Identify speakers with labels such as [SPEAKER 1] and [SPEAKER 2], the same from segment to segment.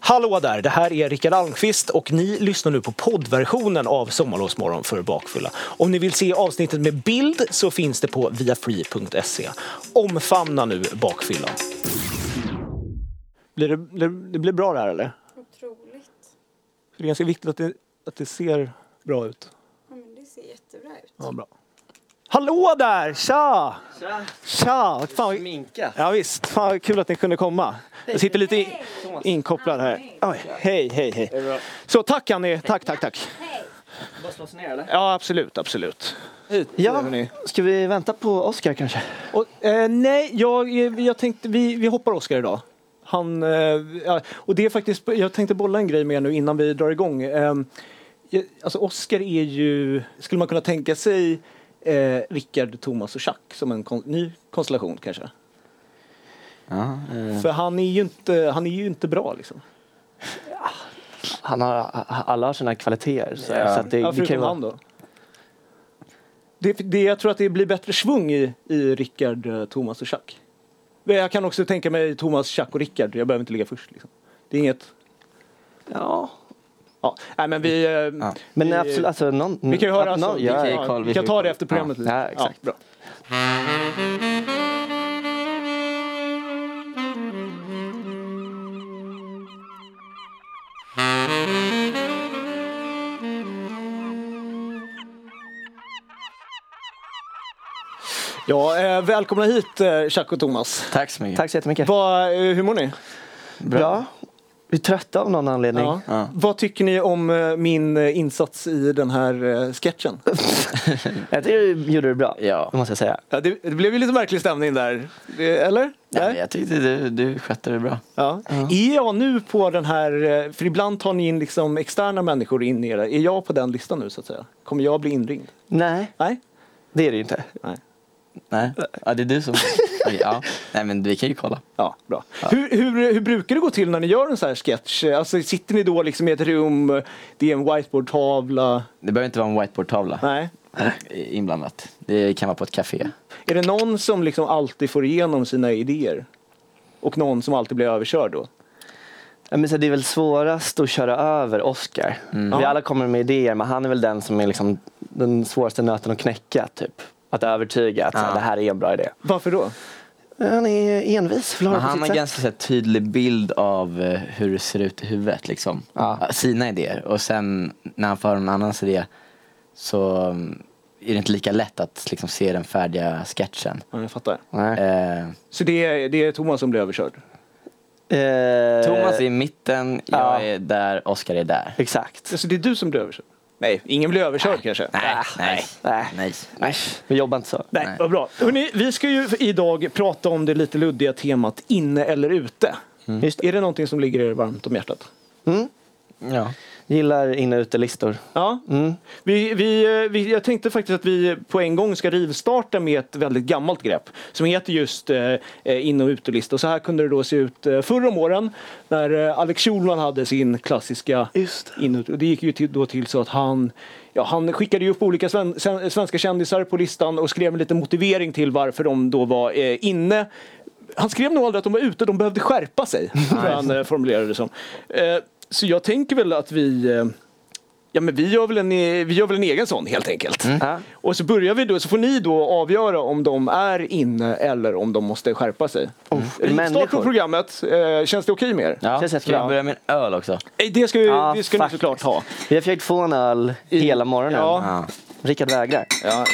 [SPEAKER 1] Hallå där, det här är Rickard Almqvist och ni lyssnar nu på poddversionen av Sommarlovsmorgon för bakfulla. Om ni vill se avsnittet med bild så finns det på viafree.se. Omfamna nu bakfyllan. Blir det, det, det blir bra det här eller?
[SPEAKER 2] Otroligt.
[SPEAKER 1] Det är ganska viktigt att det, att det ser bra ut.
[SPEAKER 2] Ja, men det ser jättebra ut.
[SPEAKER 1] Ja, bra. Hallå där! Tja!
[SPEAKER 3] Tja!
[SPEAKER 1] Tja! Vad Fan, vad-
[SPEAKER 3] Sminka.
[SPEAKER 1] ja, visst, fan vad kul att ni kunde komma. Jag sitter lite i- inkopplad här. Oj, hej, hej,
[SPEAKER 3] Är det
[SPEAKER 1] hej.
[SPEAKER 3] bra?
[SPEAKER 1] Så tack Annie, tack, tack, tack.
[SPEAKER 3] Bara slå sig ner eller?
[SPEAKER 1] Ja, absolut, absolut.
[SPEAKER 3] Ut. Ja. Ska vi vänta på Oscar kanske?
[SPEAKER 1] Och, eh, nej, jag, jag tänkte, vi, vi hoppar Oscar idag. Han, eh, ja, och det är faktiskt, jag tänkte bolla en grej med er nu innan vi drar igång. Eh, jag- alltså Oscar är ju, skulle man kunna tänka sig eh, Rickard, Thomas och Jack som en kon, ny konstellation kanske?
[SPEAKER 3] Ja. eh,
[SPEAKER 1] För han är ju inte, han är ju inte bra liksom.
[SPEAKER 3] Han har, alla har sina kvaliteter. Så, så att det,
[SPEAKER 1] ja,
[SPEAKER 3] det kan ju
[SPEAKER 1] förutom
[SPEAKER 3] vara...
[SPEAKER 1] han då. Det, det, jag tror att det blir bättre svung i, i Rickard, eh, Thomas och Jack. Men Jag kan också tänka mig Thomas, Jack och Rickard. Jag behöver inte ligga först. Liksom. Det är inget...
[SPEAKER 3] Ja.
[SPEAKER 1] Ja. Nej, men vi, eh,
[SPEAKER 3] Men
[SPEAKER 1] Vi-
[SPEAKER 3] absolut, alltså någon...
[SPEAKER 1] vi kan ju höra... Alltså,
[SPEAKER 3] någon-
[SPEAKER 1] vi,
[SPEAKER 3] ja,
[SPEAKER 1] kan,
[SPEAKER 3] ja.
[SPEAKER 1] vi kan ta det efter programmet.
[SPEAKER 3] Ja,
[SPEAKER 1] lite.
[SPEAKER 3] ja, exakt.
[SPEAKER 1] bra. Ja, eh, välkomna hit, eh, Jack och Thomas.
[SPEAKER 4] Tack så mycket.
[SPEAKER 3] Tack så jättemycket.
[SPEAKER 1] Vad, eh, hur mår ni?
[SPEAKER 3] Bra. Vi är trötta av någon anledning.
[SPEAKER 1] Ja.
[SPEAKER 4] Ja.
[SPEAKER 1] Vad tycker ni om eh, min eh, insats i den här eh, sketchen?
[SPEAKER 3] Jag tycker du gjorde det bra.
[SPEAKER 4] Ja.
[SPEAKER 3] Det måste jag säga.
[SPEAKER 1] Ja, det, det blev ju lite märklig stämning där. Det, eller?
[SPEAKER 4] Ja,
[SPEAKER 1] Nej?
[SPEAKER 4] men jag tyckte du, du skötte det bra.
[SPEAKER 1] Ja. Är jag nu på den här, eh, för ibland tar ni in liksom externa människor in i era, är jag på den listan nu så att säga? Kommer jag bli inringd?
[SPEAKER 3] Nej,
[SPEAKER 1] Nej?
[SPEAKER 3] det är det ju inte.
[SPEAKER 1] Nej.
[SPEAKER 4] Nej, ja, det är du som... Okej, ja. Nej, men vi kan ju kolla.
[SPEAKER 1] Ja, bra. Hur, hur, hur brukar det gå till när ni gör en sån här sketch? Alltså, sitter ni då liksom i ett rum, det är en whiteboardtavla?
[SPEAKER 4] Det behöver inte vara en whiteboardtavla
[SPEAKER 1] Nej?
[SPEAKER 4] inblandat. Det kan vara på ett café.
[SPEAKER 1] Är det någon som liksom alltid får igenom sina idéer? Och någon som alltid blir överkörd då?
[SPEAKER 3] Ja, Men så det är väl svårast att köra över Oscar. Vi
[SPEAKER 1] Ja.
[SPEAKER 3] alla kommer med idéer men han är väl den som är liksom den svåraste nöten att knäcka. Typ. Att övertyga att så här,
[SPEAKER 4] Ja.
[SPEAKER 3] det här är en bra idé.
[SPEAKER 1] Varför då?
[SPEAKER 3] Han är envis. Vill ha
[SPEAKER 4] Men
[SPEAKER 3] det på
[SPEAKER 4] han
[SPEAKER 3] sitt
[SPEAKER 4] har
[SPEAKER 3] sätt.
[SPEAKER 4] ganska så här, tydlig bild av eh, hur det ser ut i huvudet. Liksom.
[SPEAKER 3] Ja.
[SPEAKER 4] Sina idéer. Och sen när han får en annans idé så mm, är det inte lika lätt att liksom, se den färdiga sketchen.
[SPEAKER 1] Ja, jag fattar.
[SPEAKER 3] Nej.
[SPEAKER 4] Eh,
[SPEAKER 1] Så det är, det är Thomas som blir överkörd?
[SPEAKER 3] Eh,
[SPEAKER 4] Thomas är i mitten, jag
[SPEAKER 3] ja.
[SPEAKER 4] är där, Oscar är där.
[SPEAKER 3] Exakt.
[SPEAKER 1] Så Alltså, det är du som blir överkörd? Nej, ingen blir överkörd kanske?
[SPEAKER 4] Nej, nej,
[SPEAKER 3] Nej.
[SPEAKER 4] nej.
[SPEAKER 3] Nej, vi jobbar inte så.
[SPEAKER 1] Nej, vad bra. Hörrni, vi ska ju idag prata om det lite luddiga temat inne eller ute.
[SPEAKER 3] Just det.
[SPEAKER 1] Är det någonting som ligger er varmt om hjärtat?
[SPEAKER 3] Mm.
[SPEAKER 4] Ja.
[SPEAKER 3] Gillar in och utelistor.
[SPEAKER 1] Ja.
[SPEAKER 3] Mm.
[SPEAKER 1] Vi, vi, eh, vi, jag tänkte faktiskt att vi på en gång ska rivstarta med ett väldigt gammalt grepp som heter just eh, eh, in och utelista. Och så här kunde det då se ut eh, förr om åren när eh, Alex Schulman hade sin klassiska
[SPEAKER 3] Just
[SPEAKER 1] in och, och det gick ju till, då till så att han, ja, han skickade ju upp olika sven, sen- svenska kändisar på listan och skrev en liten motivering till varför de då var eh, inne. Han skrev nog aldrig att de var ute, de behövde skärpa sig. tror jag han eh, formulerade det som. Eh, så jag tänker väl att vi eh, Ja men vi gör väl en, eh, vi gör väl en egen sån helt enkelt.
[SPEAKER 3] Ja.
[SPEAKER 1] Och så börjar vi då, så får ni då avgöra om de är inne eller om de måste skärpa sig. Start på
[SPEAKER 3] människor.
[SPEAKER 1] programmet, eh, känns det okej med er?
[SPEAKER 4] Ja.
[SPEAKER 3] Känns
[SPEAKER 4] Ska
[SPEAKER 3] jättebra.
[SPEAKER 4] vi börja med en öl också?
[SPEAKER 1] Eh, Det ska, vi-
[SPEAKER 3] Ja,
[SPEAKER 1] det ska ni
[SPEAKER 3] faktiskt.
[SPEAKER 1] såklart ha.
[SPEAKER 3] Vi har försökt få en öl hela morgonen.
[SPEAKER 1] Ja.
[SPEAKER 4] Ja.
[SPEAKER 3] Rickard vägrar.
[SPEAKER 1] Ja,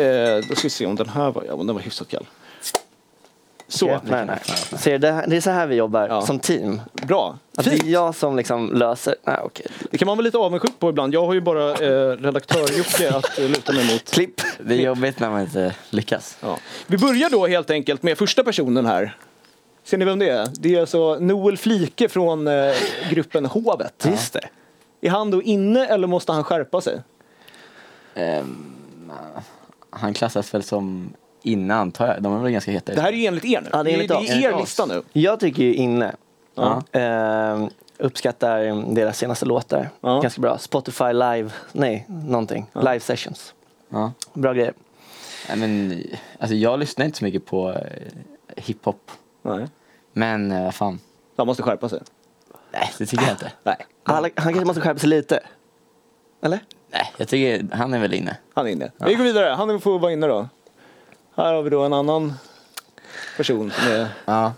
[SPEAKER 1] eh, då ska vi se om den här var, ja, om den var hyfsat kall. Så,
[SPEAKER 3] Nej, nej. Ser, du, det, här, det är så här vi jobbar
[SPEAKER 1] Ja.
[SPEAKER 3] som team.
[SPEAKER 1] bra.
[SPEAKER 3] Att det
[SPEAKER 1] Fint.
[SPEAKER 3] är jag som liksom löser... Nej, okej.
[SPEAKER 1] Det kan man vara lite avundsjuk på ibland. Jag har ju bara eh, redaktör-Jocke att eh, luta mig mot.
[SPEAKER 3] Klipp.
[SPEAKER 4] Det är jobbigt när man inte lyckas.
[SPEAKER 1] Ja. Vi börjar då helt enkelt med första personen här. Ser ni vem det är? Det är alltså Noel Flike från eh, gruppen Hovet.
[SPEAKER 3] Just det.
[SPEAKER 1] Är han då inne eller måste han skärpa sig?
[SPEAKER 4] Ehm, han klassas väl som inne antar jag. De är väl ganska heta.
[SPEAKER 1] Det här är ju enligt er nu.
[SPEAKER 3] Ja, det är enligt oss.
[SPEAKER 1] er
[SPEAKER 3] Enligt
[SPEAKER 1] lista nu.
[SPEAKER 3] Jag tycker ju inne.
[SPEAKER 4] Ja.
[SPEAKER 3] Ehm, uppskattar deras senaste låtar.
[SPEAKER 1] Ja.
[SPEAKER 3] Ganska bra. Spotify live. Nej, någonting. Live sessions.
[SPEAKER 4] Ja.
[SPEAKER 3] Bra grejer.
[SPEAKER 4] Nej, men, alltså, jag lyssnar inte så mycket på eh, hiphop.
[SPEAKER 1] Nej.
[SPEAKER 4] Men eh, vad fan.
[SPEAKER 1] Han måste skärpa sig.
[SPEAKER 4] Nej, det tycker jag inte.
[SPEAKER 1] Nej,
[SPEAKER 3] Han, han kanske måste skärpa sig lite. Eller?
[SPEAKER 4] Nej, jag tycker han är väl inne.
[SPEAKER 1] han är inne. Vi går vidare. Han får vara inne då. Här har vi då en annan person som är
[SPEAKER 4] Ja.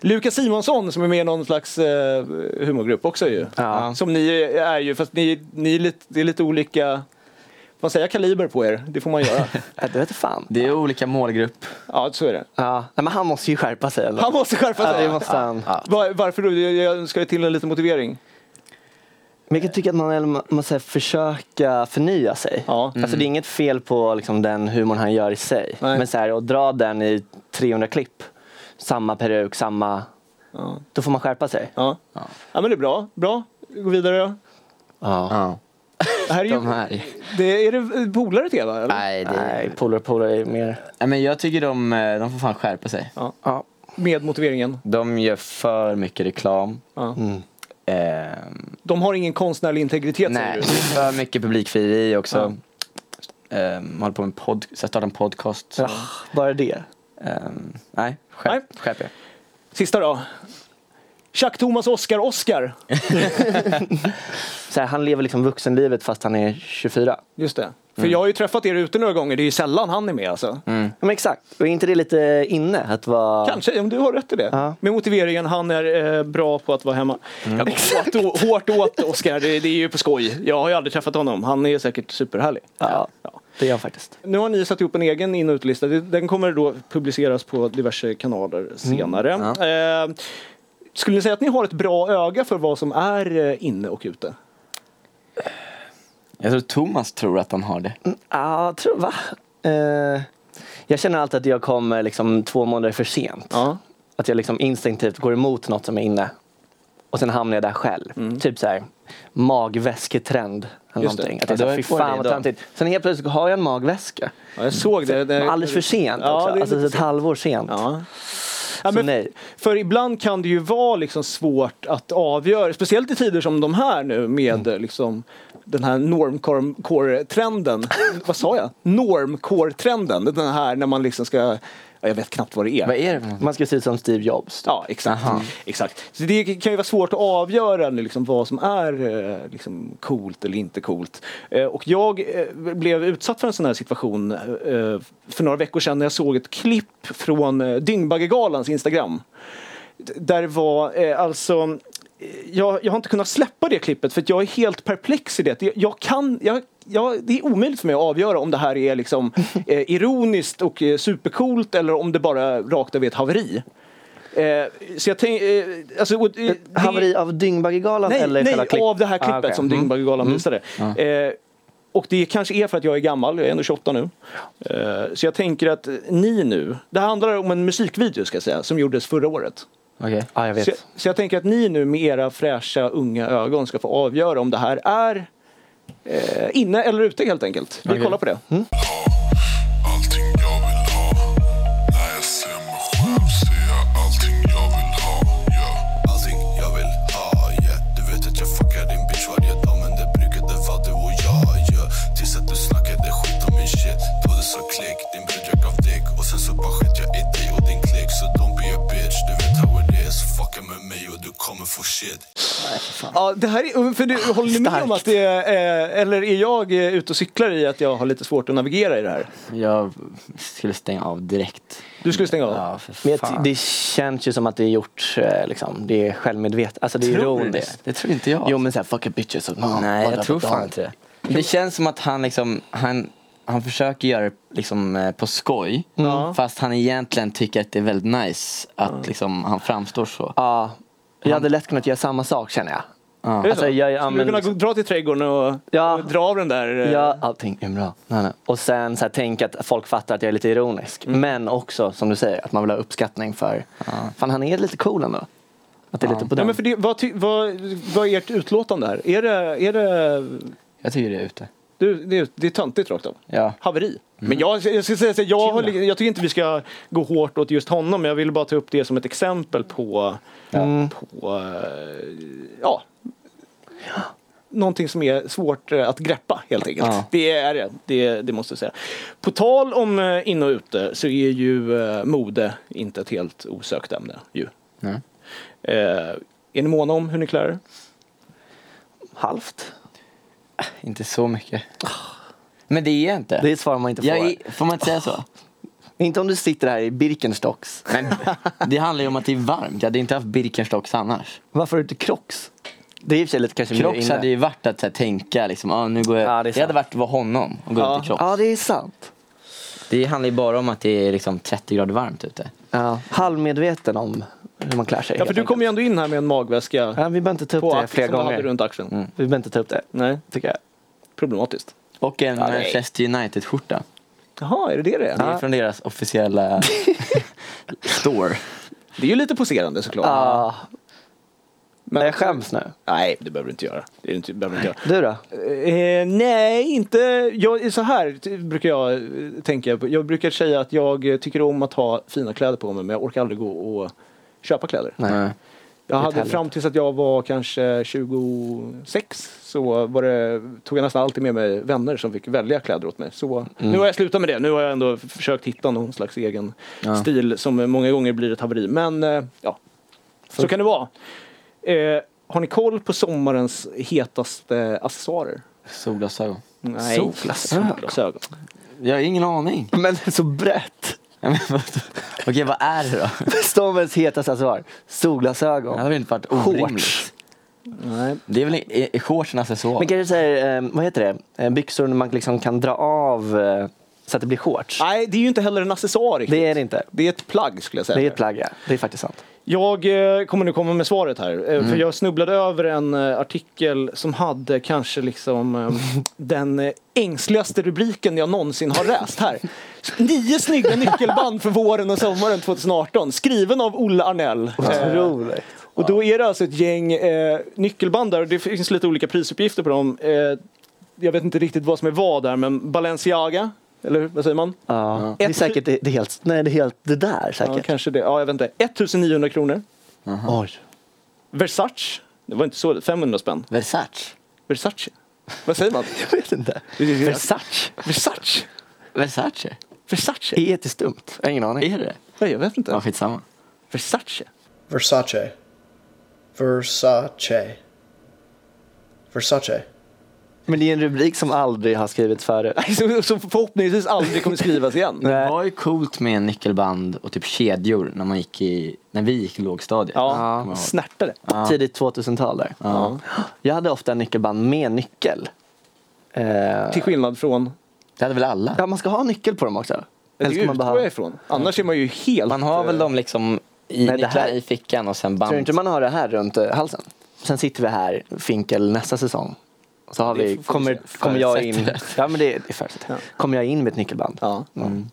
[SPEAKER 1] Lukas Simonsson som är med i någon slags eh, humorgrupp också ju.
[SPEAKER 3] Ja.
[SPEAKER 1] Som ni är ju, fast ni, ni är lite, det är lite olika, får man säga kaliber på er? Det får man göra.
[SPEAKER 3] Ja, Äh, Det vete fan.
[SPEAKER 4] Det är olika målgrupp.
[SPEAKER 1] ja, så är det.
[SPEAKER 3] Ja, nej, men han måste ju skärpa sig. Eller?
[SPEAKER 1] Han måste skärpa
[SPEAKER 3] ja,
[SPEAKER 1] sig.
[SPEAKER 3] det måste han.
[SPEAKER 4] Ja.
[SPEAKER 1] Var, varför då? Jag- Jag ska ju till en liten motivering.
[SPEAKER 3] Men jag kan tycka att man eller, måste försöka förnya sig.
[SPEAKER 1] Ja.
[SPEAKER 3] Alltså, det är inget fel på liksom, den humorn han gör i sig.
[SPEAKER 1] Nej.
[SPEAKER 3] Men så här, att dra den i 300 klipp, samma peruk, samma...
[SPEAKER 1] Ja.
[SPEAKER 3] Då får man skärpa sig.
[SPEAKER 1] Ja. ja.
[SPEAKER 4] Ja.
[SPEAKER 1] men det är bra. Bra. Gå vidare då.
[SPEAKER 3] Ja.
[SPEAKER 4] Ja.
[SPEAKER 1] Det Här är, ju,
[SPEAKER 4] De här.
[SPEAKER 1] det, är det polare till er va? eller?
[SPEAKER 4] Nej, det...
[SPEAKER 3] Nej, polare polare är mer...
[SPEAKER 4] Nej, men jag tycker de, eh, de får fan skärpa sig.
[SPEAKER 3] Ja.
[SPEAKER 1] Med motiveringen.
[SPEAKER 4] De gör för mycket reklam.
[SPEAKER 1] Ja.
[SPEAKER 4] Ehm,
[SPEAKER 1] De har ingen konstnärlig integritet
[SPEAKER 4] Nej,
[SPEAKER 1] säger du.
[SPEAKER 4] för mycket publikfrieri också. Ehm, håller på med pod- så jag startar en podcast. Så.
[SPEAKER 3] Ah, bara det.
[SPEAKER 4] Ehm, nej,
[SPEAKER 1] Nej.
[SPEAKER 4] skärp, skärp er.
[SPEAKER 1] Sista då. Chuck Thomas Oscar Oscar.
[SPEAKER 3] Så här, han lever liksom vuxenlivet fast han är 24.
[SPEAKER 1] Just det. För jag har ju träffat er ute några gånger, det är ju sällan han är med alltså.
[SPEAKER 3] Ja, men exakt. Och är inte det lite inne att vara...
[SPEAKER 1] Kanske, om du har rätt i det.
[SPEAKER 3] Ja.
[SPEAKER 1] Med motiveringen, han är eh, bra på att vara hemma. Jag går hårt, å- hårt åt Oscar, det, det är ju på skoj. Jag har ju aldrig träffat honom, han är säkert superhärlig.
[SPEAKER 3] Ja, det är han faktiskt.
[SPEAKER 1] Nu har ni satt ihop en egen in och utelista, Det- den kommer då publiceras på diverse kanaler senare. Eh, skulle ni säga att ni har ett bra öga för vad som är eh, inne och ute?
[SPEAKER 4] Jag tror Thomas tror att han har det.
[SPEAKER 3] Mm. Ja, jag tror va? Eh, jag känner alltid att jag kommer liksom två månader för sent.
[SPEAKER 1] Ja.
[SPEAKER 3] Att jag liksom instinktivt går emot något som är inne. Och sen hamnar jag där själv. Typ så här magväsketrend. Eller
[SPEAKER 1] Mm. Just det.
[SPEAKER 3] någonting. Att
[SPEAKER 4] Ja,
[SPEAKER 3] jag säger, fy
[SPEAKER 4] då är jag på
[SPEAKER 3] fan
[SPEAKER 4] det
[SPEAKER 3] vad
[SPEAKER 4] idag."
[SPEAKER 3] töntigt. Sen helt plötsligt har jag en magväska.
[SPEAKER 1] jag såg det. det
[SPEAKER 3] Men alldeles för sent
[SPEAKER 1] Ja,
[SPEAKER 3] också.
[SPEAKER 1] det är
[SPEAKER 3] Alltså
[SPEAKER 1] lite
[SPEAKER 3] ett halvår sent.
[SPEAKER 1] Ja. Ja,
[SPEAKER 3] Så
[SPEAKER 1] men
[SPEAKER 3] nej.
[SPEAKER 1] För ibland kan det ju vara liksom svårt att avgöra, speciellt i tider som de här nu med
[SPEAKER 3] Mm.
[SPEAKER 1] liksom, den här normcore-trenden. Vad sa jag? Normcore-trenden. Den här när man liksom ska, ja, jag vet knappt vad det är.
[SPEAKER 4] Vad är det för något?
[SPEAKER 3] Man ska se ut som Steve Jobs.
[SPEAKER 1] Ja, exakt.
[SPEAKER 4] Aha.
[SPEAKER 1] exakt. Så det kan ju vara svårt att avgöra nu, liksom, vad som är eh, liksom, coolt eller inte coolt. Eh, Och jag eh, blev utsatt för en sån här situation eh, för några veckor sedan när jag såg ett klipp från eh, Dyngbaggegalans Instagram. D- Där det var eh, alltså eh, jag, jag har inte kunnat släppa det klippet för att jag är helt perplex i det. Jag, jag kan, jag, jag, det är omöjligt för mig att avgöra om det här är liksom, eh, ironiskt och eh, supercoolt eller om det bara rakt av är ett haveri. Eh, så jag tänk, eh, alltså, och, eh, det-
[SPEAKER 3] Haveri av Dyngbaggegalan
[SPEAKER 1] nej,
[SPEAKER 3] eller själva
[SPEAKER 1] nej
[SPEAKER 3] klipp?
[SPEAKER 1] av det här klippet
[SPEAKER 3] Ah, okej.
[SPEAKER 1] som
[SPEAKER 4] Mm.
[SPEAKER 1] Dyngbaggegalan visade. Eh, och det kanske är för att jag är gammal, jag är ändå 28 nu. Eh, så jag tänker att ni nu, det här handlar om en musikvideo ska jag säga, som gjordes förra året.
[SPEAKER 4] Okej.
[SPEAKER 3] Ja, jag vet.
[SPEAKER 1] Så, jag- så jag tänker att ni nu med era fräscha unga ögon ska få avgöra om det här är eh, inne eller ute helt enkelt. Vi
[SPEAKER 4] Okej.
[SPEAKER 1] kollar på det.
[SPEAKER 3] Mm.
[SPEAKER 5] Allting jag vill ha När jag ser mig själv ser jag allting jag vill ha yeah. Allting jag vill ha yeah. Du vet att jag fuckar din bitch varje dag Men det brukar det vara du och jag yeah. Tills att du snackade skit om min shit Då du sa klick, din brud jag gav dick Och sen så bara sket jag i dig och din klick Så don't be a bitch, du vet how it is Fucka med mig och du kommer få shit
[SPEAKER 1] Ja, det här är, för du, håller ni med om att det är, eh, eller är jag eh, ute och cyklar i att jag har lite svårt att navigera i det här?
[SPEAKER 4] Jag skulle stänga av direkt.
[SPEAKER 1] Du skulle stänga av?
[SPEAKER 4] Ja, för
[SPEAKER 3] Men jag,
[SPEAKER 4] fan.
[SPEAKER 3] ty- det känns ju som att det är gjort, eh, liksom, det är självmedvetet. Alltså det är
[SPEAKER 4] Tror du
[SPEAKER 3] ironiskt.
[SPEAKER 4] Det tror inte jag.
[SPEAKER 3] Jo men såhär, fuck a alltså. bitches. och-
[SPEAKER 4] Nej, jag
[SPEAKER 3] Vadå,
[SPEAKER 4] tror
[SPEAKER 3] vadå?
[SPEAKER 4] fan inte det. Det känns som att han liksom, han, han försöker göra det liksom eh, på skoj.
[SPEAKER 3] Mm.
[SPEAKER 1] Ja.
[SPEAKER 4] Fast han egentligen tycker att det är väldigt nice att liksom han framstår så.
[SPEAKER 3] Ja, jag hade lätt kunnat göra samma sak känner jag.
[SPEAKER 4] Ja.
[SPEAKER 1] Är det
[SPEAKER 3] Alltså,
[SPEAKER 1] så?
[SPEAKER 3] jag- ja,
[SPEAKER 1] Skulle
[SPEAKER 3] men
[SPEAKER 1] du kunna
[SPEAKER 3] liksom-
[SPEAKER 1] gå- dra till trädgården och,
[SPEAKER 3] Ja.
[SPEAKER 1] och dra av den där? eh,
[SPEAKER 3] Ja, allting är bra. Nej, nej. Och sen så här, tänk att folk fattar att jag är lite ironisk.
[SPEAKER 1] Mm.
[SPEAKER 3] Men också som du säger, att man vill ha uppskattning för, fan han är lite cool ändå. Att det är lite på
[SPEAKER 1] Nej,
[SPEAKER 3] den.
[SPEAKER 1] men för det, vad, ty, vad, vad är ert utlåtande här? Är det, är det,
[SPEAKER 4] Jag tycker det är ute.
[SPEAKER 1] du, det, är- det är töntigt rakt av?
[SPEAKER 4] Ja.
[SPEAKER 1] Haveri. Men jag, jag, ska säga, så här, jag, har, jag tycker inte vi ska gå hårt åt just honom. Jag vill bara ta upp det som ett exempel på,
[SPEAKER 3] Mm.
[SPEAKER 1] på eh, ja, någonting som är svårt eh, att greppa helt enkelt.
[SPEAKER 4] Ja.
[SPEAKER 1] Det är det, det, det måste jag säga. På tal om eh, in och ute så är ju eh, mode inte ett helt osökt ämne. Ju.
[SPEAKER 4] Nej.
[SPEAKER 1] Eh, Är ni måna om hur ni klär er?
[SPEAKER 3] Halvt.
[SPEAKER 4] Inte så mycket. Men det är jag inte.
[SPEAKER 3] Det är ett svar man inte får.
[SPEAKER 4] jag är, får man inte säga så?
[SPEAKER 3] Inte om du sitter här i Birkenstocks.
[SPEAKER 4] Men det handlar ju om att det är varmt. Jag hade inte haft Birkenstocks annars.
[SPEAKER 3] Varför har du inte Crocs? Det är i och för sig lite kanske mer
[SPEAKER 4] Crocs
[SPEAKER 3] inne.
[SPEAKER 4] hade ju varit att så här, tänka liksom, ah, nu går
[SPEAKER 3] Ja,
[SPEAKER 4] jag...
[SPEAKER 3] det är
[SPEAKER 4] jag hade
[SPEAKER 3] sant.
[SPEAKER 4] varit att vara honom och gå
[SPEAKER 1] Ja.
[SPEAKER 4] runt i Crocs.
[SPEAKER 3] Ja, det är sant.
[SPEAKER 4] Det handlar ju bara om att det är liksom 30 grader varmt ute.
[SPEAKER 3] Ja. Halvmedveten om hur man klär sig.
[SPEAKER 1] Ja, för
[SPEAKER 3] helt
[SPEAKER 1] du
[SPEAKER 3] enkelt.
[SPEAKER 1] kom ju ändå in här med en magväska
[SPEAKER 3] Ja, vi behöver inte ta upp
[SPEAKER 1] på
[SPEAKER 3] det
[SPEAKER 1] axeln
[SPEAKER 3] flera
[SPEAKER 1] som du hade
[SPEAKER 3] gånger.
[SPEAKER 1] runt axeln.
[SPEAKER 3] Vi behöver inte ta upp det,
[SPEAKER 1] Nej,
[SPEAKER 3] tycker jag.
[SPEAKER 1] problematiskt.
[SPEAKER 4] Och en
[SPEAKER 3] Ja, nej.
[SPEAKER 4] Manchester United-skjorta.
[SPEAKER 1] Jaha, är det det det
[SPEAKER 4] Det
[SPEAKER 1] är?
[SPEAKER 4] är från deras officiella store.
[SPEAKER 1] Det är ju lite poserande såklart.
[SPEAKER 3] Ah,
[SPEAKER 1] Men-
[SPEAKER 3] jag skäms nu.
[SPEAKER 1] Nej, det behöver du inte göra. Det är du inte, behöver du inte göra.
[SPEAKER 3] Du då?
[SPEAKER 1] Eh, nej, inte... Jag, så här t- brukar jag eh, tänka. på- Jag brukar säga att jag eh, tycker om att ha fina kläder på mig men jag orkar aldrig gå och köpa kläder.
[SPEAKER 4] Nej.
[SPEAKER 1] jag hade
[SPEAKER 3] helvete.
[SPEAKER 1] fram tills att jag var kanske 26 så var det, tog jag nästan alltid med mig vänner som fick välja kläder åt mig. Så
[SPEAKER 3] Mm.
[SPEAKER 1] nu har jag slutat med det. Nu har jag ändå f- försökt hitta någon slags egen stil som eh, många gånger blir ett haveri. Men eh, ja, så kan det vara. Eh, har ni koll på sommarens hetaste accessoarer?
[SPEAKER 4] Solglasögon.
[SPEAKER 1] Nej.
[SPEAKER 3] Solglasögon.
[SPEAKER 1] Solglasögon.
[SPEAKER 4] Jag har ingen aning.
[SPEAKER 3] Men så brett!
[SPEAKER 4] Ja, men vad- Okej, vad är det då?
[SPEAKER 3] Stormens hetaste accessoar. Solglasögon.
[SPEAKER 4] Det hade väl inte varit orimligt?
[SPEAKER 3] Shorts.
[SPEAKER 1] Nej.
[SPEAKER 4] Det är väl i, i shortsen accessoar?
[SPEAKER 3] Men kanske säger, eh, vad heter det, eh, byxor man liksom kan dra av eh, så att det blir shorts.
[SPEAKER 4] Ah,
[SPEAKER 1] Nej, det är ju inte heller en accessoar riktigt.
[SPEAKER 3] Det är det inte.
[SPEAKER 1] Det är ett plagg skulle jag säga.
[SPEAKER 3] Det är ett plagg, ja. Det är faktiskt sant.
[SPEAKER 1] Jag eh, kommer nu komma med svaret här. eh, För jag snubblade över en eh, artikel som hade kanske liksom eh, den eh, ängsligaste rubriken jag någonsin har läst här. Nio snygga nyckelband för våren och sommaren 2018. Skriven av Olle Arnell. Eh,
[SPEAKER 3] Otroligt.
[SPEAKER 1] Och då är det alltså ett gäng eh, nyckelband där och det finns lite olika prisuppgifter på dem. Eh, jag vet inte riktigt vad som är vad där men Balenciaga, eller vad säger man?
[SPEAKER 3] Ja. Det är
[SPEAKER 1] Ett-
[SPEAKER 3] säkert det, det är helt, nej det är helt det där
[SPEAKER 1] Ja,
[SPEAKER 3] säkert.
[SPEAKER 1] kanske det. Ja, jag vet inte. 1900 kronor.
[SPEAKER 3] Oj.
[SPEAKER 1] Versace. Det var inte så, 500 spänn.
[SPEAKER 4] Versace?
[SPEAKER 1] Versace. Vad säger man?
[SPEAKER 3] Jag vet inte. Versace?
[SPEAKER 1] Versace?
[SPEAKER 4] Versace?
[SPEAKER 1] Versace?
[SPEAKER 3] Är jättestumt. Jag har ingen aning.
[SPEAKER 4] Är det
[SPEAKER 1] Nej, jag vet
[SPEAKER 4] Ja,
[SPEAKER 1] inte.
[SPEAKER 4] skitsamma.
[SPEAKER 1] Versace?
[SPEAKER 6] Versace. Versace. Versace.
[SPEAKER 3] Men det är en rubrik som aldrig har skrivits förut.
[SPEAKER 1] Nej, så- Så förhoppningsvis aldrig kommer skrivas igen.
[SPEAKER 4] Det
[SPEAKER 3] Nej.
[SPEAKER 4] var ju coolt med nyckelband och typ kedjor när man gick i, när vi gick i lågstadiet. Kommer jag
[SPEAKER 1] Ja,
[SPEAKER 4] ihåg.
[SPEAKER 1] snärtade.
[SPEAKER 3] Tidigt 2000-tal där.
[SPEAKER 1] Ja.
[SPEAKER 3] Jag hade ofta en nyckelband med nyckel. Eh,
[SPEAKER 1] Till skillnad från...
[SPEAKER 4] Det hade väl alla?
[SPEAKER 3] ja, man ska ha nyckel på dem också.
[SPEAKER 1] Det
[SPEAKER 3] Eller ska
[SPEAKER 1] utgår
[SPEAKER 3] man bara ha...
[SPEAKER 1] jag ifrån. Annars är man ju helt... eh,
[SPEAKER 4] Man har väl dem liksom i
[SPEAKER 3] Nej, det
[SPEAKER 4] nycklar
[SPEAKER 3] här-
[SPEAKER 4] i fickan och sen band.
[SPEAKER 3] Tror du inte man har det här runt eh, halsen? Sen sitter vi här, Finkel, nästa säsong. Så har
[SPEAKER 1] Det
[SPEAKER 3] vi,
[SPEAKER 1] får vi
[SPEAKER 3] kommer,
[SPEAKER 1] se.
[SPEAKER 3] kommer jag in...
[SPEAKER 4] Förutsätter.
[SPEAKER 3] Ja, men det är det är förutsatt. Kommer jag in med ett nyckelband? Mm.
[SPEAKER 1] Ja. Mm.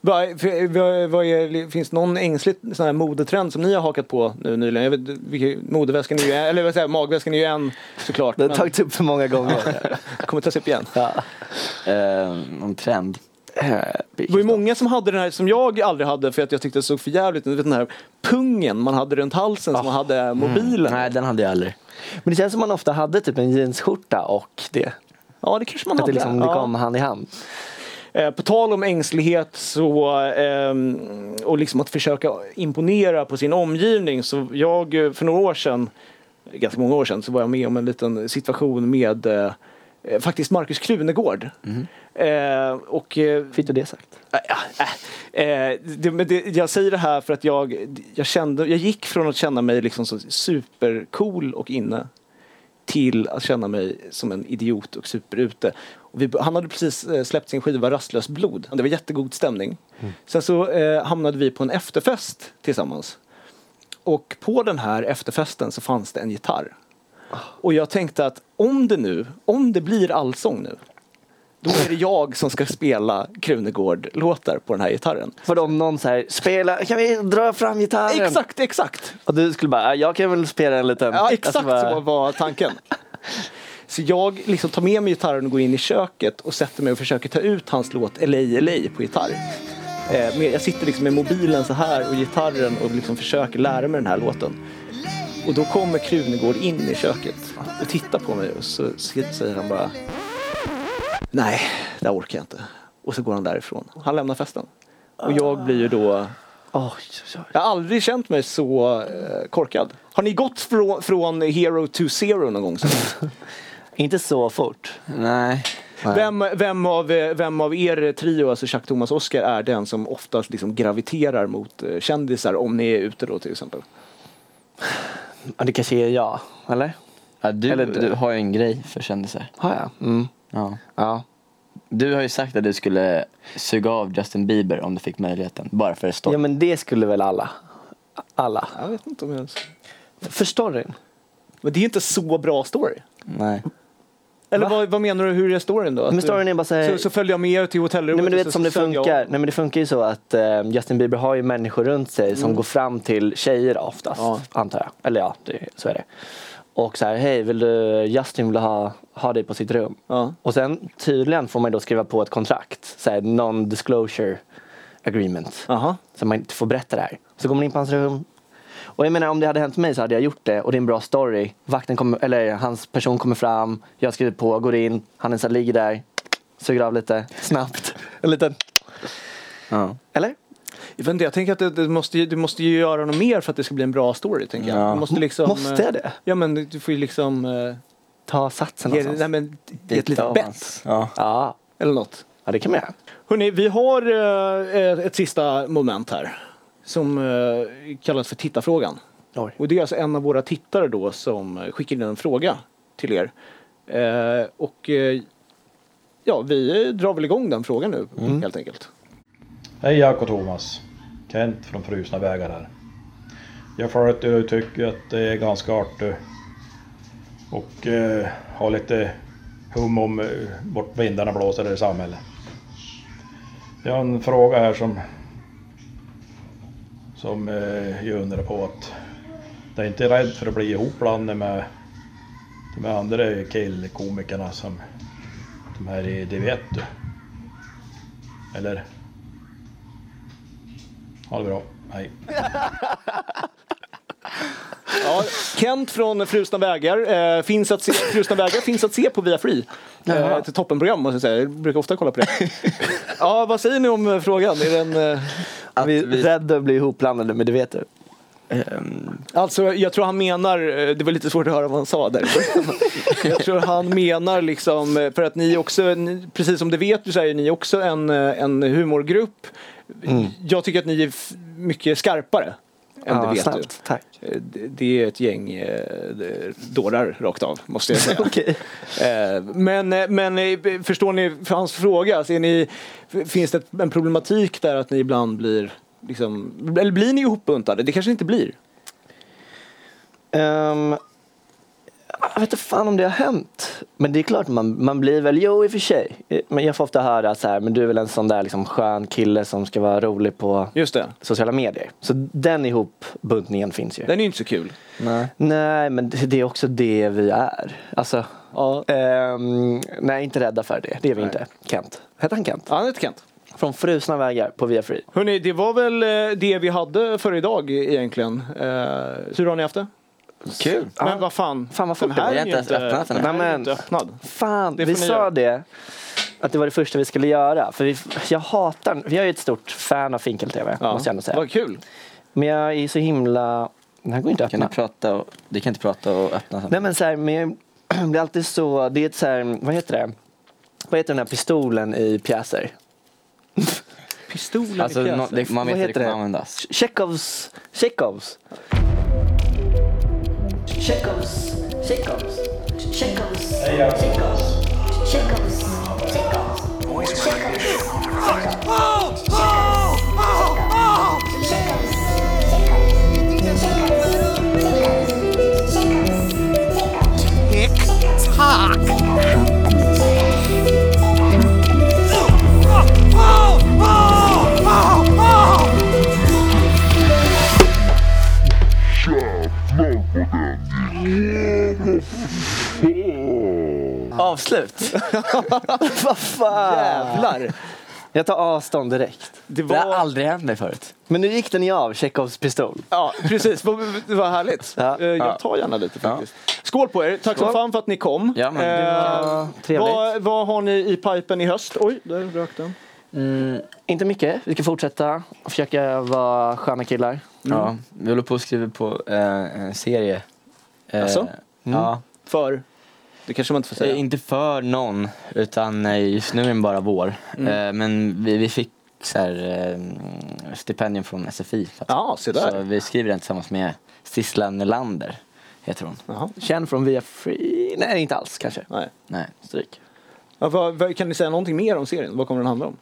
[SPEAKER 1] Vad- för- vad- vad är- Finns det någon ängslig sån här modetrend som ni har hakat på nu nyligen? Jag vet, vilken- modeväskan är ju en, eller vad säger jag, magväskan är ju en såklart.
[SPEAKER 3] Den har
[SPEAKER 1] men
[SPEAKER 3] tagits upp för många gånger.
[SPEAKER 1] kommer tas upp igen.
[SPEAKER 3] ja.
[SPEAKER 4] Eh, någon trend.
[SPEAKER 1] Det var ju många som hade den här som jag aldrig hade för att jag tyckte det såg för jävligt ut. Du vet Den här pungen man hade runt halsen
[SPEAKER 3] Ah.
[SPEAKER 1] som man hade
[SPEAKER 3] Mm.
[SPEAKER 1] mobilen.
[SPEAKER 4] Nej, den hade jag aldrig.
[SPEAKER 3] Men det känns som man ofta hade typ en jeansskjorta och det.
[SPEAKER 1] Ja, det kanske man
[SPEAKER 3] Att det,
[SPEAKER 1] hade.
[SPEAKER 3] liksom, det
[SPEAKER 1] Ja.
[SPEAKER 3] kom hand i hand.
[SPEAKER 1] Eh, På tal om ängslighet så, ehm, och liksom att försöka imponera på sin omgivning. Så jag, eh, för några år sedan, ganska många år sedan, så var jag med om en liten situation med eh, eh, faktiskt Markus Krunegård.
[SPEAKER 3] Mm.
[SPEAKER 1] Eh, och eh,
[SPEAKER 3] Fick du det sagt?
[SPEAKER 1] Äh, äh, äh, det, men det, jag säger det här för att jag, jag, kände, jag gick från att känna mig liksom så supercool och inne till att känna mig som en idiot och superute. Och vi, han hade precis eh, släppt sin skiva Rastlöst blod. Det var jättegod stämning. Sen så eh, hamnade vi på en efterfest tillsammans. Och på den här efterfesten så fanns det en gitarr. Och jag tänkte att om det nu, om det blir allsång nu då är det jag som ska spela Krunegård-låtar på den här gitarren.
[SPEAKER 3] För om någon så här, spela, kan vi dra fram gitarren?
[SPEAKER 1] Exakt, exakt!
[SPEAKER 3] Och du skulle bara, "Ja, jag kan väl spela en liten.
[SPEAKER 1] Ja, exakt
[SPEAKER 3] Alltså bara,
[SPEAKER 1] så var tanken. Så jag liksom tar med mig gitarren och går in i köket och sätter mig och försöker ta ut hans låt LA LA på gitarr. Eh, men jag sitter liksom med mobilen så här och gitarren och liksom försöker lära mig den här låten. Och då kommer Krunegård in i köket och tittar på mig och så säger han bara Nej, det här orkar jag inte. Och så går han därifrån. Han lämnar festen. Och jag blir ju då
[SPEAKER 3] Oj, oj, oj.
[SPEAKER 1] Jag har aldrig känt mig så eh, korkad. Har ni gått från, från hero to zero någon gång? sen?
[SPEAKER 3] Inte så fort.
[SPEAKER 4] Nej. Nej.
[SPEAKER 1] Vem, vem, av, eh, vem av er trio, alltså Chuck, Thomas, Oscar, är den som oftast liksom graviterar mot eh, kändisar om ni är ute då till exempel?
[SPEAKER 3] Ja, det kanske är jag, eller?
[SPEAKER 4] Ja, du,
[SPEAKER 3] Eller-
[SPEAKER 4] du har ju en grej för kändisar.
[SPEAKER 3] Har jag? Mm.
[SPEAKER 4] Ja.
[SPEAKER 3] Ja.
[SPEAKER 4] Du har ju sagt att du skulle suga av Justin Bieber om du fick möjligheten. Bara för story.
[SPEAKER 3] ja, men det skulle väl alla? Alla.
[SPEAKER 1] Jag vet inte om jag ens...
[SPEAKER 3] Förstår du?
[SPEAKER 1] Men det är inte så bra story.
[SPEAKER 4] Nej.
[SPEAKER 1] Eller
[SPEAKER 3] Va?
[SPEAKER 1] vad, vad menar du, hur är storyn då? Att
[SPEAKER 3] Men storyn är bara så här-
[SPEAKER 1] så, så följde jag med till hotellrummet
[SPEAKER 3] Nej men du
[SPEAKER 1] och
[SPEAKER 3] vet
[SPEAKER 1] så
[SPEAKER 3] som det
[SPEAKER 1] sög jag-
[SPEAKER 3] funkar. Nej men det funkar ju så att eh, Justin Bieber har ju människor runt sig som går fram till tjejer oftast.
[SPEAKER 1] Mm. Ja.
[SPEAKER 3] Antar jag. Eller ja, det, så är det. Och så här, hej vill du, Justin vill ha, ha dig på sitt rum.
[SPEAKER 1] Ja.
[SPEAKER 3] Och sen tydligen får man ju då skriva på ett kontrakt. Så här non-disclosure agreement.
[SPEAKER 1] Jaha.
[SPEAKER 3] Så man inte får berätta det här. Så går man in på hans rum. Och jag menar om det hade hänt mig så hade jag gjort det och det är en bra story. Vakten kommer, eller hans person kommer fram, jag skriver på, går in, han är så här, ligger där, suger av lite snabbt. En liten,
[SPEAKER 4] Ja.
[SPEAKER 3] eller?
[SPEAKER 1] Jag, vet inte, jag tänker att det, det måste, ju- du måste ju göra något mer för att det ska bli en bra story. Tänker jag.
[SPEAKER 4] Ja.
[SPEAKER 1] Du måste, liksom,
[SPEAKER 3] Måste jag
[SPEAKER 1] eh,
[SPEAKER 3] det?
[SPEAKER 1] Ja men du får ju liksom eh,
[SPEAKER 3] Ta satsen
[SPEAKER 1] ge, nej,
[SPEAKER 3] någonstans.
[SPEAKER 1] men, ge ett litet
[SPEAKER 4] av
[SPEAKER 1] bett
[SPEAKER 4] hans- Ja.
[SPEAKER 3] Ja.
[SPEAKER 1] eller något.
[SPEAKER 3] ja, det kan man göra.
[SPEAKER 1] Hörrni, vi har eh, ett sista moment här som eh, kallas för tittarfrågan.
[SPEAKER 3] Oj.
[SPEAKER 1] Och det är alltså en av våra tittare då som eh, skickar in en fråga till er. Eh, och eh, ja, vi eh, drar väl igång den frågan nu helt enkelt.
[SPEAKER 7] Hej Jack och Thomas! Kent från Frusna vägar här. Jag får att du tycker att det är ganska artigt och eh, ha lite hum om eh, vart vindarna blåser i samhället. Jag har en fråga här som som eh, jag undrar på att jag är inte rädd för att bli ihopblandad med de här andra killkomikerna som de här i Det vet du. Eller? Ha det bra, hej.
[SPEAKER 1] Ja, Kent från Frusna vägar, eh, finns, att se, Frusna vägar finns att se på Via Free. Eh,
[SPEAKER 3] Jaha.
[SPEAKER 1] ett toppenprogram måste jag säga, jag brukar ofta kolla på det. ja, vad säger ni om eh, frågan? Är den, eh,
[SPEAKER 3] Att vi är
[SPEAKER 4] vi-
[SPEAKER 3] rädda att bli ihopblandade, men det vet du.
[SPEAKER 1] Alltså, jag tror han menar, eh, det var lite svårt att höra vad han sa där. jag tror han menar liksom, eh, för att ni också, ni, precis som det vet du så är ni också en, eh, en humorgrupp. Jag tycker att ni är f- mycket skarpare än det vet
[SPEAKER 3] snällt. Tack.
[SPEAKER 1] du. Eh, det- Det är ett gäng eh, dårar rakt av, måste jag säga.
[SPEAKER 3] Okej.
[SPEAKER 1] Eh, Men, eh, men eh, förstår ni för hans fråga? Ser ni, f- finns det en problematik där att ni ibland blir Liksom, eller blir ni ihopbuntade? Det kanske ni inte blir?
[SPEAKER 3] Ehm, jag vet inte fan om det har hänt. Men det är klart, man, man blir väl, jo i och för sig. Eh, Men jag får ofta höra så här, men du är väl en sån där liksom skön kille som ska vara rolig på
[SPEAKER 1] Just det.
[SPEAKER 3] sociala medier. Så den ihopbuntningen finns ju.
[SPEAKER 1] Den är ju inte så kul.
[SPEAKER 4] Nej.
[SPEAKER 3] Nej, men det det är också det vi är. Alltså,
[SPEAKER 1] Ja.
[SPEAKER 3] ehm, nej, inte rädda för det. Det är vi inte. Kent. Hette han Kent?
[SPEAKER 1] Ja, det Kent.
[SPEAKER 3] Från Frusna vägar på Via Free.
[SPEAKER 1] Hörrni, det var väl eh, det vi hade för idag egentligen. Eh, hur har ni haft det?
[SPEAKER 4] Kul!
[SPEAKER 1] Men vad fan.
[SPEAKER 3] Fan, vad fort
[SPEAKER 1] den
[SPEAKER 3] det
[SPEAKER 1] här
[SPEAKER 3] var.
[SPEAKER 1] är
[SPEAKER 4] Jag
[SPEAKER 1] ju
[SPEAKER 4] har inte
[SPEAKER 1] inte
[SPEAKER 4] ens öppnat den
[SPEAKER 1] den.
[SPEAKER 4] här.
[SPEAKER 1] här är ju
[SPEAKER 3] Nej,
[SPEAKER 1] inte
[SPEAKER 3] men-
[SPEAKER 1] öppnad.
[SPEAKER 3] Fan,
[SPEAKER 1] Det
[SPEAKER 3] vi
[SPEAKER 1] får ni
[SPEAKER 3] sa
[SPEAKER 1] göra.
[SPEAKER 3] det. Att det var det första vi skulle göra. För vi, jag hatar, jag är ju ett stort fan av Finkel-TV,
[SPEAKER 1] Ja,
[SPEAKER 3] måste jag ändå säga.
[SPEAKER 1] Vad kul.
[SPEAKER 3] Men jag är så himla, den här går inte att
[SPEAKER 4] Kan du
[SPEAKER 3] öppna.
[SPEAKER 4] prata och... Du kan inte prata och öppna
[SPEAKER 3] Nej
[SPEAKER 4] samtidigt.
[SPEAKER 3] men så här, men jag blir alltid så, det är ett så här, vad heter det? Vad heter den här pistolen i pjäser?
[SPEAKER 1] Pistolen
[SPEAKER 4] Alltså,
[SPEAKER 1] i
[SPEAKER 4] nå-
[SPEAKER 1] pjäsen.
[SPEAKER 4] det, man
[SPEAKER 3] Vad
[SPEAKER 4] vet att
[SPEAKER 3] heter
[SPEAKER 4] det kommer
[SPEAKER 3] det?
[SPEAKER 4] användas.
[SPEAKER 3] Chekhovs, Chekhovs. Chekhovs, Chekhovs, Chekhovs, Chekhovs, Chekhovs, Chekhovs. Avslut. vad fan.
[SPEAKER 1] Jävlar.
[SPEAKER 3] Jag tar avstånd direkt.
[SPEAKER 1] Det
[SPEAKER 4] Det har
[SPEAKER 1] var...
[SPEAKER 4] aldrig hänt mig förut.
[SPEAKER 3] Men nu gick den ju av, Chekhovs pistol.
[SPEAKER 1] Ja, precis. Vad- Det var härligt.
[SPEAKER 3] Ja.
[SPEAKER 1] Eh, Jag tar gärna lite faktiskt. Skål på er. Tack som fan för att ni kom.
[SPEAKER 4] Ja, men det
[SPEAKER 1] Eh,
[SPEAKER 3] var trevligt.
[SPEAKER 1] Vad, vad har ni i pipen i höst? Oj, där rök den.
[SPEAKER 3] Eh, Inte mycket. Vi ska fortsätta och försöka vara sköna killar.
[SPEAKER 4] Ja, vi håller på att skriva på eh, en serie. Eh,
[SPEAKER 1] Jaså?
[SPEAKER 3] Mm.
[SPEAKER 4] Ja,
[SPEAKER 1] För? Det kanske man inte får säga.
[SPEAKER 4] eh, inte för någon, utan eh, just nu är den bara vår.
[SPEAKER 1] Mm.
[SPEAKER 4] Eh, men vi, vi fick så här, eh, stipendium från SFI. så att-
[SPEAKER 1] Ja, se där.
[SPEAKER 4] Så vi skriver den tillsammans med Sissela Nylander, heter hon.
[SPEAKER 1] Jaha.
[SPEAKER 3] Känn från Via Free... Nej, inte alls kanske.
[SPEAKER 1] Nej.
[SPEAKER 4] Nej.
[SPEAKER 3] Stryk.
[SPEAKER 1] Ja, vad, vad, kan ni säga någonting mer om serien? Vad kommer den handla om?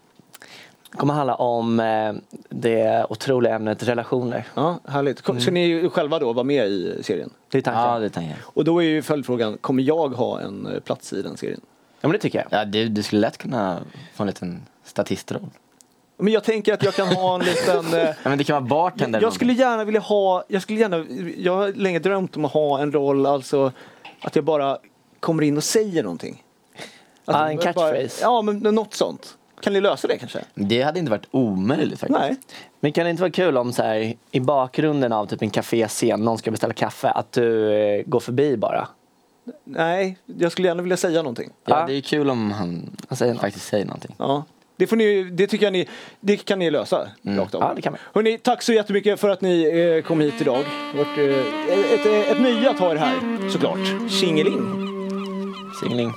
[SPEAKER 3] Det kommer handla om eh, det otroliga ämnet relationer.
[SPEAKER 1] Ja, härligt. Kom, Ska ni ju själva då vara med i serien?
[SPEAKER 3] Det är tanken.
[SPEAKER 4] Ja,
[SPEAKER 3] Ja,
[SPEAKER 4] det tänker jag.
[SPEAKER 1] Och då är ju följdfrågan, kommer jag ha en eh, plats i den serien?
[SPEAKER 3] men det tycker jag.
[SPEAKER 4] Ja, du, du skulle lätt kunna få en liten statistroll.
[SPEAKER 1] Men jag tänker att jag kan ha en liten... eh,
[SPEAKER 4] Ja, men det kan vara bartender.
[SPEAKER 1] Jag skulle gärna vilja ha, jag skulle gärna, jag har länge drömt om att ha en roll, alltså att jag bara kommer in och säger någonting. Att
[SPEAKER 3] Ah, en
[SPEAKER 1] bara-
[SPEAKER 3] catchphrase.
[SPEAKER 1] Ja, men något sånt. Kan ni lösa det kanske?
[SPEAKER 4] Det hade inte varit omöjligt faktiskt.
[SPEAKER 1] Nej.
[SPEAKER 3] Men kan det inte vara kul om så här, i bakgrunden av typ en kaféscen, någon ska beställa kaffe, att du eh, går förbi bara?
[SPEAKER 1] Nej, jag skulle gärna vilja säga någonting.
[SPEAKER 4] Ja,
[SPEAKER 3] Ja.
[SPEAKER 4] det är ju kul om han
[SPEAKER 3] Han säger något.
[SPEAKER 4] faktiskt säger någonting.
[SPEAKER 1] Ja. Det, får ni, det tycker jag ni, det kan ni lösa rakt av.
[SPEAKER 3] Mm. Ja, det kan vi.
[SPEAKER 1] Hörrni, tack så jättemycket för att ni eh, kom hit idag. Det har varit, eh, ett, ett, ett nöje att ha er här, såklart. Tjingeling!
[SPEAKER 4] Singling.